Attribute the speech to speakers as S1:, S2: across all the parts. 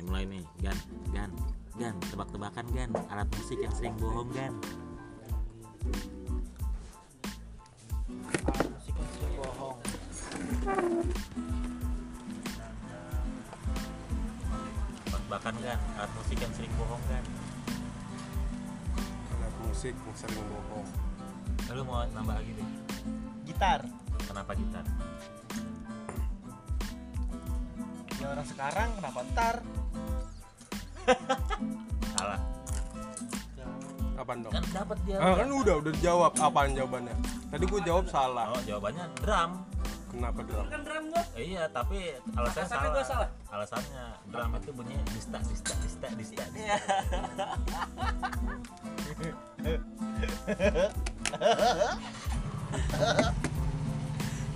S1: mulai nih gan gan gan tebak-tebakan gan alat musik yang sering bohong gan
S2: Ah, musik kan sering bohong
S1: tebak-tebakan gan alat musik yang sering bohong gan
S3: alat musik yang sering bohong
S1: lu mau nambah lagi deh
S2: gitar
S1: kenapa gitar
S2: ya orang sekarang kenapa ntar
S1: salah
S3: apaan dong
S1: kan dapat dia
S3: ah, kan udah udah dijawab apaan jawabannya tadi gue jawab salah
S1: oh jawabannya drum
S3: kenapa drum
S4: kan drum gua
S1: Eh, iya tapi alasannya
S4: Alasannya
S1: salah.
S4: gua salah.
S1: alasannya drum itu bunyinya dista dista dista dista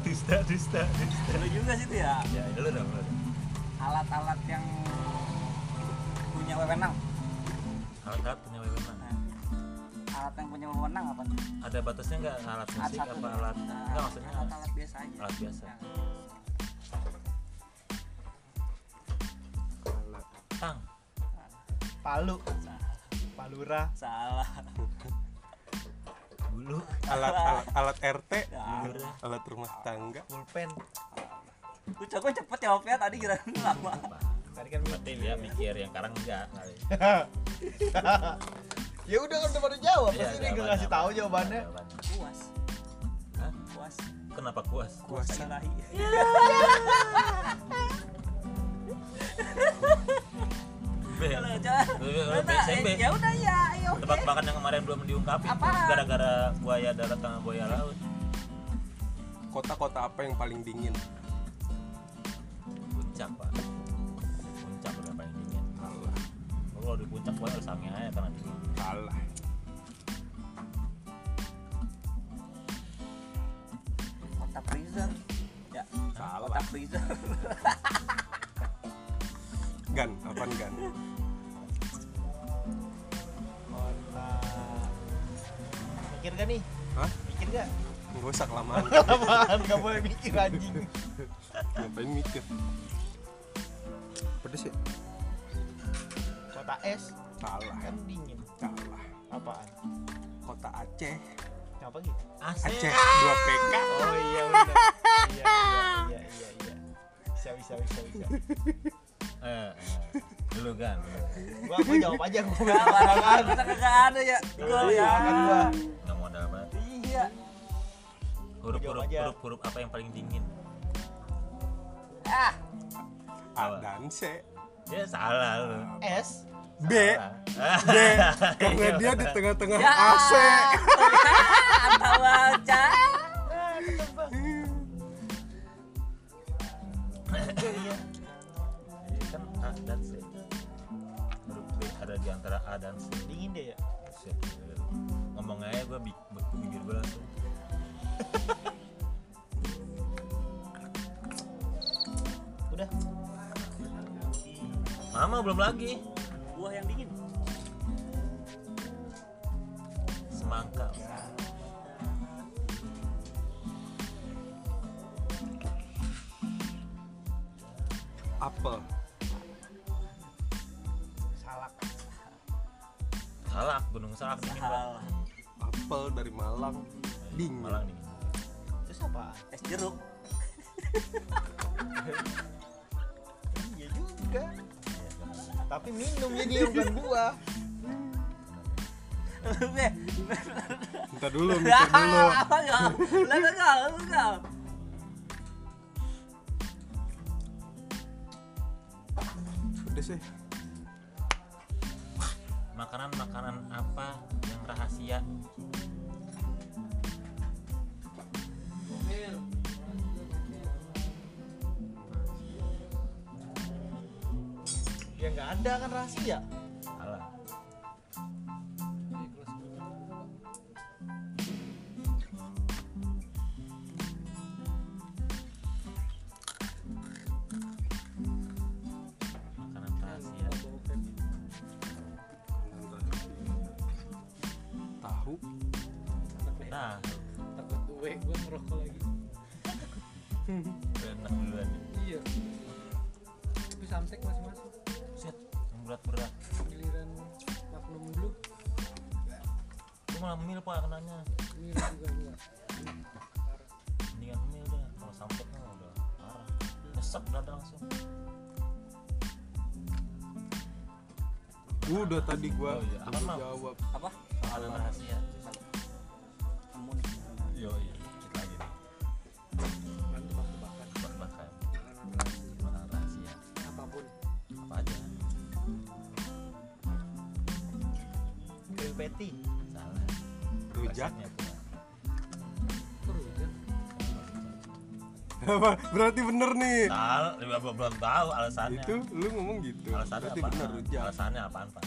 S1: dista dista dista
S4: Seru juga sih itu ya
S1: ya lu dong lu dong.
S4: alat-alat yang punya wewenang
S1: alat-alat punya wewenang
S4: Nah, alat yang punya wewenang apa
S1: ada batasnya nggak alat
S4: Alat
S1: musik
S4: satu. Nah,
S1: apa alat nggak maksudnya
S4: alat-alat biasa aja
S1: alat biasa
S4: Nah,
S1: tang
S2: palu palura
S4: salah
S1: bulu
S3: alat alat alat RT
S4: Ya
S1: Bulurnya.
S3: alat rumah tangga
S2: pulpen
S4: lu coba cepet jawabnya tadi kira lu lama
S2: tadi kan
S1: berarti dia mikir yang sekarang enggak kali
S2: ya udah kan udah pada jawab
S1: Iya,
S2: pasti dia nggak
S1: jawabannya
S2: ngasih
S1: apa?
S2: tahu jawabannya
S1: Jawabannya.
S4: puas
S1: Hah?
S4: puas
S1: kenapa kuas
S4: puas salahi
S1: Bel.
S4: Halo, jangan.
S1: Bel,
S4: Lu tak-
S1: SMB.
S4: ya udah ya ayo oke.
S1: tebak tebakan yang kemarin belum diungkapin tuh,
S4: Apaan?
S1: gara-gara buaya darat sama buaya laut
S3: kota-kota apa yang paling dingin
S1: puncak pak puncak udah paling dingin
S3: salah
S1: Lu kalau di puncak buaya harus angin aja kan karena dingin
S3: salah
S4: kota freezer ya
S3: Salah.
S4: kota freezer
S3: gan apaan gan
S2: kota mikir gak nih
S3: hah
S2: mikir gak
S3: gak usah kelamaan
S2: apaan nggak boleh mikir anjing
S3: ngapain mikir pedes ya
S2: kota es
S3: salah
S2: kan dingin
S3: salah
S2: apaan
S3: kota Aceh
S2: kenapa gitu
S3: Aceh 2 PK
S2: oh iya udah iya iya iya iya bisa bisa bisa bisa
S1: eh, eh. lu kan
S2: gua gua jawab aja gua
S4: Gak
S2: berangan
S4: kita kagak ada ya
S1: iya.
S4: gol ya
S2: berangan gua
S1: nggak mau ada banget
S4: iya
S1: huruf-huruf
S2: aja.
S1: huruf-huruf apa yang paling dingin
S4: ah
S3: Adanse
S1: ya salah lu
S2: es
S3: B
S1: Salah.
S3: D karena dia di tengah-tengah
S4: ya
S3: AC
S4: atau baca
S2: Ah, ketebak. Iya.
S1: Iya kan A dan C huruf B ada di antara A dan C
S2: dingin deh ya
S1: Buset, gila lu. ngomong aja gue bik beku bibir gue langsung
S2: udah
S1: mama belum lagi
S4: buah yang dingin
S1: semangka
S3: apel
S2: salak
S1: salak gunung salak dingin banget
S4: salah
S3: apel dari Malang dingin
S1: malang dingin
S2: terus apa
S4: es jeruk
S2: iya juga tapi minum jadi bukan gua
S4: Be,
S3: Bentar dulu
S4: Ya,
S3: mikir dulu
S4: apa kau? Lalu kau, lalu kau.
S3: pedes ya
S1: makanan makanan apa yang rahasia
S2: ya nggak ada kan rahasia
S1: salah makanan rahasia
S3: tahu
S1: nah
S5: takut gue gue ngerokok lagi
S1: gue enak duluan nih.
S5: iya tapi samsek masih masuk
S1: Buset, berat-berat
S5: giliran Magnum Blue
S1: gue malah ngemil pak kenanya
S5: ini juga enggak
S1: mendingan ngemil dah kalau sampai kan udah parah nyesek dada langsung
S3: udah tadi gua
S1: Oh, iya. Apa,
S3: udah
S1: Mam?
S3: jawab
S4: apa
S1: soal rahasia
S4: Amun.
S1: yo iya kita aja nih
S5: bantu bantu bahkan
S1: buat makan makan rahasia
S5: apapun
S1: apa aja kayu peti salah
S3: rujak
S1: Resepnya tuh.
S5: terus ya
S3: apa berarti bener nih
S1: Tahu, gua belum- belum tahu alasannya.
S3: itu lu ngomong gitu
S1: alasannya
S3: berarti
S1: apa?
S3: bener rujak
S1: Alasannya apaan, Pak?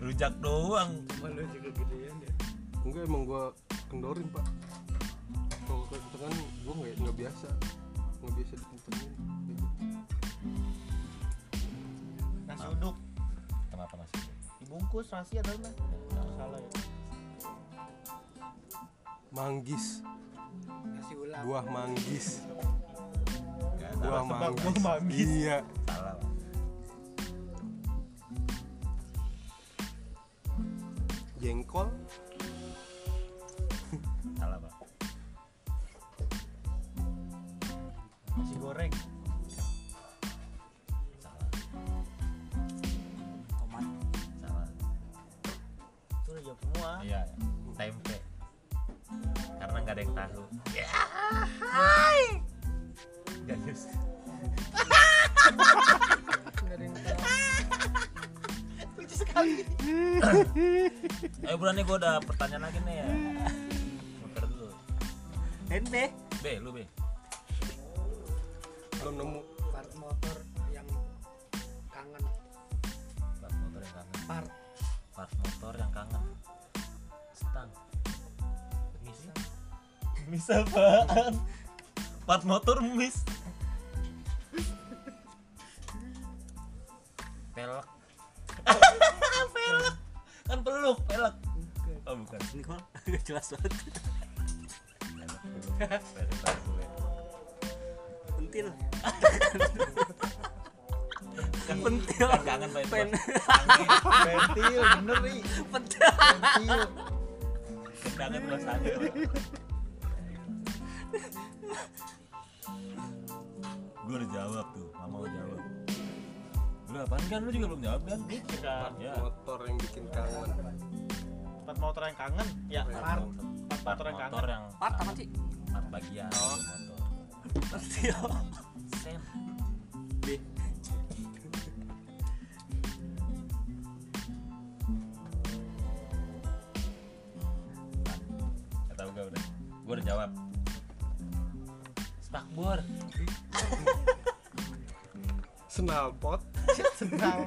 S1: Rujak doang.
S5: malu juga gedean ya
S3: enggak emang gua kendorin pak kalau kencengan gua nggak nggak biasa nggak biasa dikencengin gitu.
S2: Nasi uduk
S1: Kenapa masih?
S2: dibungkus rahasia tadi mah. Salah ya.
S3: manggis
S5: nasi ulang
S3: buah manggis
S1: Gak salah,
S3: buah
S2: tebak
S3: manggis,
S2: buah manggis.
S3: iya
S1: salah. Pak.
S3: jengkol
S1: Salah, Pak.
S2: Nasi goreng.
S1: Salah.
S4: Oman.
S1: Salah.
S2: Itu udah jawab semua.
S1: Iya. iya. Tempe. Karena nggak ada yang tahu. Ya. Jenius.
S5: nggak ada yang tahu
S1: Ayo bulan nih gue ada pertanyaan lagi nih ya. Muter dulu.
S4: Hende.
S1: B, lu B.
S3: belum nemu
S5: part motor yang kangen
S1: Part motor yang kangen.
S5: part
S1: Part motor yang kangen. Stang. Misi. Mis apaan? Part motor mis. Pelek. pelek. Kan peluk, pelek.
S5: Bukan.
S1: Oh bukan.
S4: Ini kok nggak jelas banget. Pentil. Pentil.
S1: Kangen main
S4: Pen.
S2: Pentil bener nih.
S4: Pentil.
S2: Pentil.
S1: Kangen rasanya. Gue udah jawab tuh, nggak mau jawab. Lu apaan kan? Lu juga belum jawab kan?
S2: Jika
S1: Ya.
S3: motor yang bikin kangen
S2: empat motor yang kangen ya part empat motor yang kangen.
S1: motor yang
S4: Part apa sih?
S1: part bagian motor.
S4: Pentil.
S1: Sen.
S4: B.
S1: Gak tau gue udah. Gue udah jawab. Spakbor.
S3: senalpot
S2: Senang.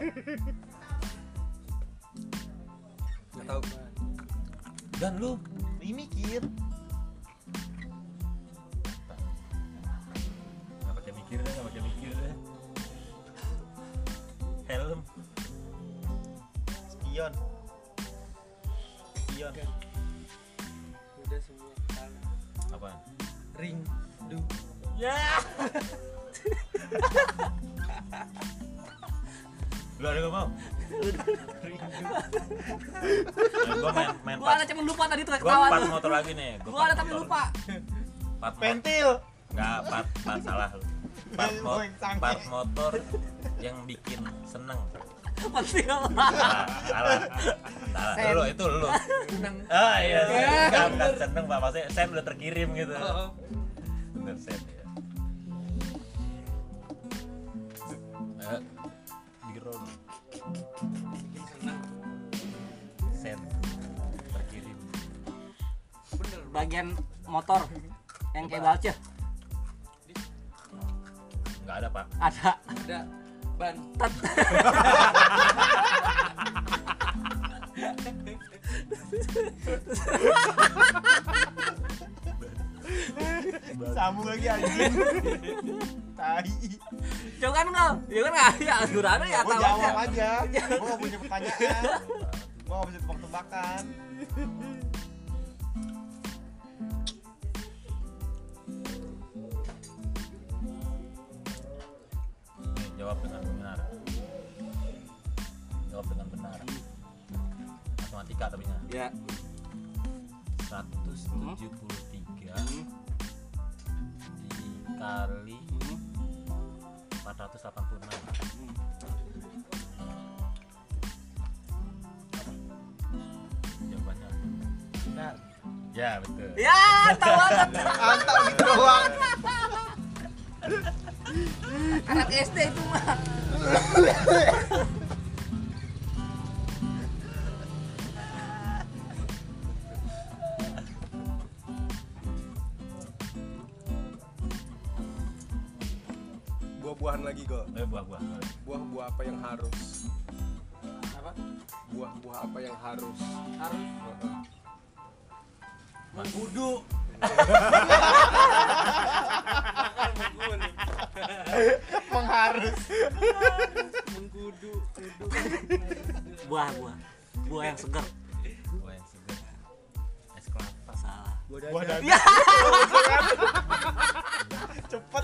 S3: nggak tahu
S1: Dan lu
S2: Ini mikir.
S1: nggak pakai mikir deh, nggak pakai mikir deh. Helm.
S2: Spion. Spion.
S5: bukan udah semua kangen
S1: Apaan?
S5: ring du
S1: Ya. lu ada nggak mau? Nah, gua main main
S4: Gua ada
S1: part.
S4: cuman lupa tadi tuh
S1: Gua
S4: ketawa
S1: part
S4: tuh.
S1: motor lagi nih. Gua
S4: Gua ada
S1: part
S4: tapi
S1: motor.
S4: lupa.
S1: Part motor.
S2: Pentil.
S1: Nggak, part, part salah lu. Part, mo-
S2: Gua yang sange.
S1: part motor yang bikin seneng.
S4: Pentil.
S1: Salah, salah. Salah. Itu lu, itu lu.
S5: benang
S1: Ah iya. Nggak, bukan seneng Pak, maksudnya Sam udah terkirim gitu.
S5: oh,
S1: Bener Sam ya. Eh, di roll.
S5: bikin senang
S1: Sam terkirim.
S5: bener
S4: Bagian motor yang kayak balce
S1: Nggak ada, Pak.
S4: ada
S5: ada ban
S2: Sambung lagi anjing. Tai.
S4: Coba kan enggak? Ya kan enggak? Ya aturannya ya
S2: Gua
S4: tahu aja.
S2: jawab aja. Gua gak punya pertanyaan. Gua gak bisa tebak-tebakan.
S1: Nih, jawab dengan benar. ngarang matematika tapi nya
S5: ya
S1: 173
S5: hmm,
S1: dikali
S5: hmm,
S1: 486
S5: hmm.
S1: jawabannya
S2: Benar.
S1: ya betul
S4: ya tahu banget
S2: Antar gitu doang.
S4: anak SD itu mah
S3: buah-buahan lagi go
S1: eh buah buah boleh.
S3: buah-buah apa yang harus
S5: apa
S3: buah-buah apa yang harus
S5: harus
S2: Wudu.
S5: Gua nih,
S2: Mengharus.
S5: mengkudu kudu
S4: buah buah buah yang segar
S1: buah yang segar es kelapa
S4: salah
S2: Buah dagu.
S4: Ya.
S2: Cepet.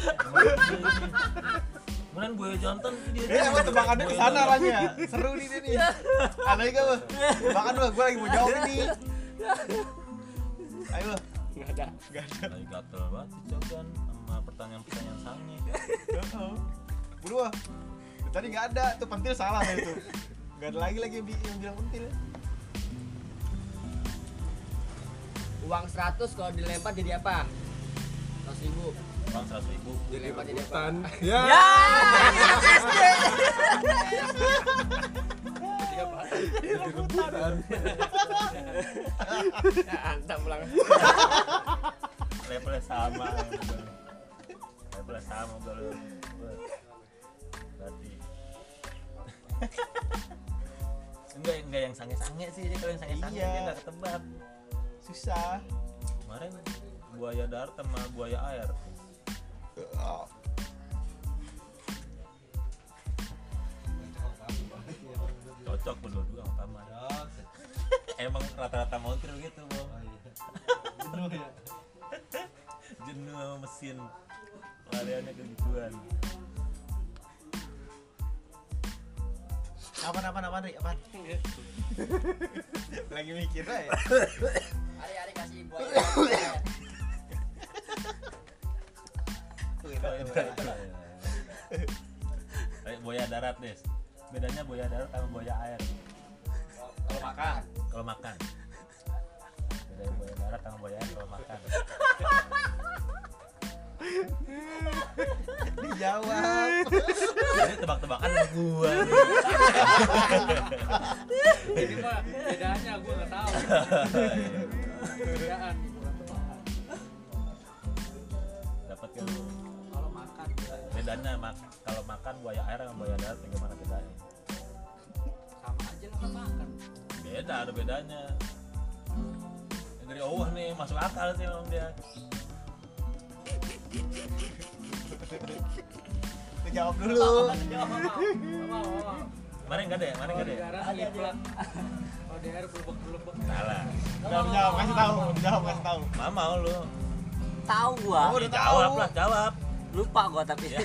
S1: kemudian buah jantan dia
S2: Eh, emang tebakannya ke sana arahnya. Seru nih dia nih. Ada enggak, Bang? Tebakan Bang, gua lagi mau jawab ini. Ayo, Bang.
S5: nggak ada
S2: Enggak ada.
S1: lagi gatel banget si Cogan sama pertanyaan-pertanyaan sange
S2: Buru, Bang. Tadi enggak ada. Tuh pentil salah saya tuh. Enggak ada lagi lagi yang bi- yang bilang pentil.
S6: Uang 100 kalau dilempar jadi apa? 100 ribu
S1: bang seratus ribu
S6: dilempar jadi apa?
S3: tan ya
S4: ya anak SD
S3: rebutan
S5: antam pulang
S1: levelnya sama levelnya sama kalau berarti enggak enggak yang sange-sange sih jadi kalau yang sange-sange
S2: Iya.
S1: dia nggak ketebak
S2: Susah.
S1: kemarin buaya darat sama buaya air cocok berdua-dua sama kamar emang rata-rata montir gitu bang
S2: ya.
S1: jenuh sama mesin lariannya kegituan
S2: Apaan apaan apaan, Ri? Apaan? Lagi mikir aja.
S6: Hari-hari kasih ibu aja.
S1: Ayo, buaya darat des bedanya buaya darat sama buaya air
S5: kalau makan
S1: kalau makan bedanya buaya darat sama buaya air kalau makan
S2: Dijawab.
S1: jadi tebak-tebakan sama gua nih.
S5: ini mah bedanya gua nggak tahu bedaan bukan tebakan
S1: dapat kan lu?
S5: kalau makan
S1: bedanya mak- kalau makan buaya air sama buaya darat bagaimana bedanya
S5: sama aja lah kan makan
S1: beda ada bedanya Yang dari Allah nih masuk akal sih memang dia
S2: Dijawab dulu.
S5: mau mau mau
S1: kemarin gak ada ya kemarin
S5: kalau
S1: gak
S5: di
S1: ada ya
S5: darat liplak kalau di air berlebek berlebek
S1: salah
S2: Jawab, jawab, kasih tahu. Jawab, kasih tahu.
S1: mama lu
S4: tahu gua
S2: Gua udah
S1: jawab
S2: tahu.
S1: lah jawab
S4: lupa gua tapi
S1: Ya.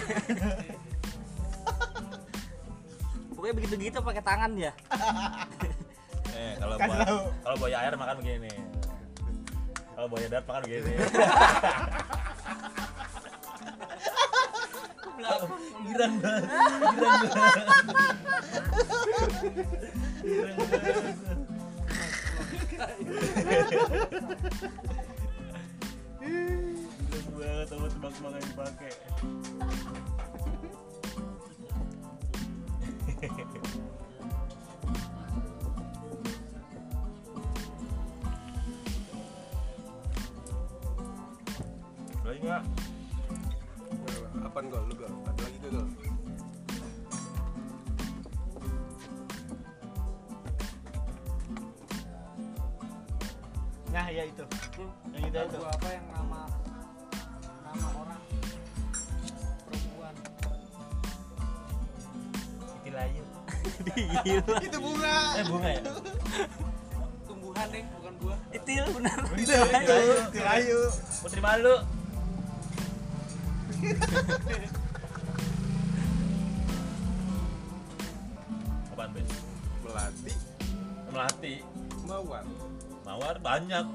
S4: pokoknya begitu begitu pakai tangan ya
S1: eh kalau
S2: Kasih
S1: buaya
S2: tahu.
S1: kalau buaya air makan begini kalau buaya darat makan begini giran banget giran banget Girang banget. Girang banget sama tebak-tebak yang dipakai Lo ingat?
S3: apaan gol lu gol ada lagi gak gol
S2: Nah, ya itu. Yang itu itu.
S5: Lagu apa yang nama nama orang perempuan
S1: Bikin layu
S4: gila
S2: Itu bunga.
S1: Eh bunga ya?
S5: tumbuhan deh bukan gua
S4: itil benar
S2: Itu, itu, itu layu.
S1: Putri Malu Apaan Ben?
S3: melati
S1: melati
S3: mawar
S1: mawar banyak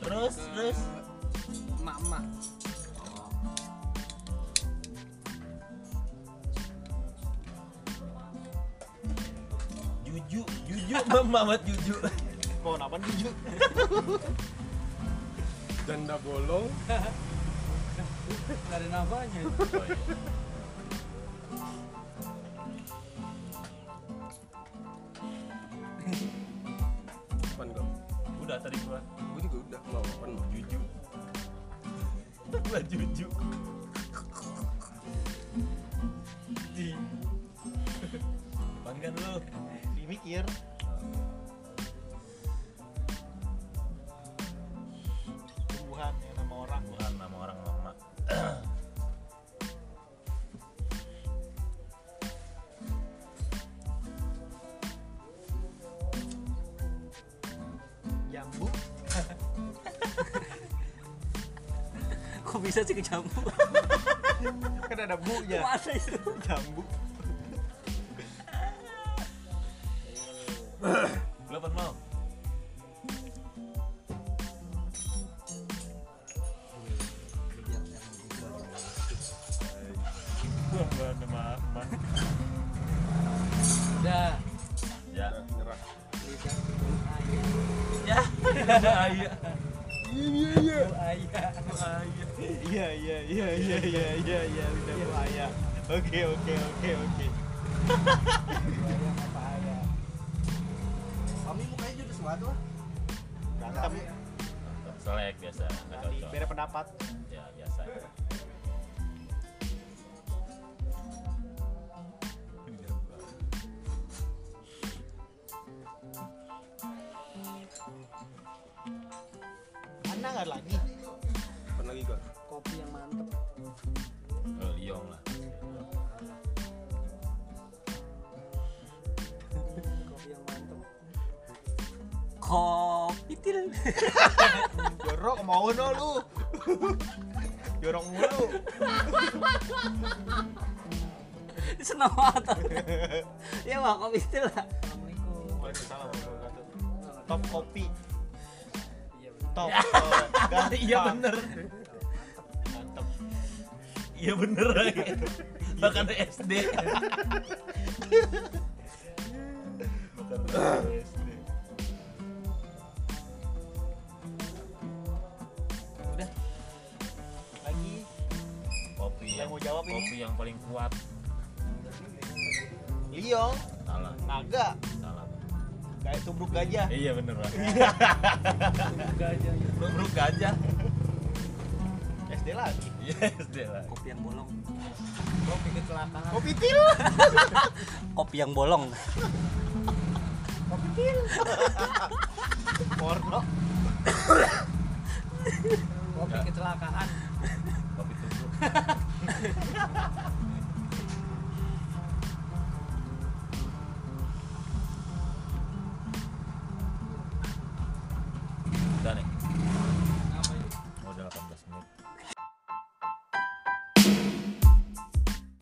S1: terus terus
S5: emak-emak
S1: juju juju Bang Mamat juju
S2: Pohon apa jujur?
S3: janda bolong
S5: Gak ada namanya itu.
S3: pan gua
S1: udah tadi gua
S3: gua juga udah mau pan mau
S1: juju gua juju di depan kan lu
S2: Dimikir. Tumbuhan ya nama orang.
S1: bukan nama kan orang lama
S2: Jambu.
S4: Kok bisa sih ke jambu?
S2: Kan ada bunya.
S4: Mana itu?
S2: Jambu.
S1: lu apa mau gua gua nama Mamat.
S5: Udah.
S1: ya
S3: nyerah
S5: Lidah bulu ayah.
S1: ya bahaya
S3: iya iya
S5: Bulu ayah.
S1: bahaya
S2: Iya iya iya iya iya iya iya udah bahaya. Oke oke oke oke.
S5: Bulu ayah apa ayah?
S6: Kami mukanya juga sesuatu lah.
S2: Berantem.
S1: selek biasa nggak
S2: Nanti
S1: cocok
S2: beda pendapat.
S1: ya biasa
S2: Anda nggak ada lagi.
S3: pan lagi gua
S5: Kopi yang mantep.
S1: Oh, liong lah
S5: Kopi yang mantep.
S4: Kopitil.
S2: Jorok mau no lu. Jorok mulu.
S4: Senang banget. Ya mah kopitil lah.
S5: Assalamualaikum.
S2: Waalaikumsalam warahmatullahi wabarakatuh. Top kopi.
S5: Iya, bener.
S2: Top. eh, gampang.
S1: iya bener
S2: Mantep.
S1: iya bener lagi bahkan SD bahkan SD
S4: Udah.
S2: Lagi.
S1: kopi
S2: Yang mau jawab ini.
S1: kopi yang paling kuat
S2: Liong.
S1: salah
S2: Naga.
S1: salah
S2: Kayak tubruk gajah.
S1: iya bener lah
S5: Enggak aja. ya.
S1: buruk gajah
S2: SD lagi.
S1: iya SD lah
S4: Kopi yang bolong.
S5: Kopi kecelakaan.
S2: Kopi til.
S4: Kopi yang bolong.
S2: Porno.
S5: Kopi kecelakaan.
S1: kopi tubruk Oh,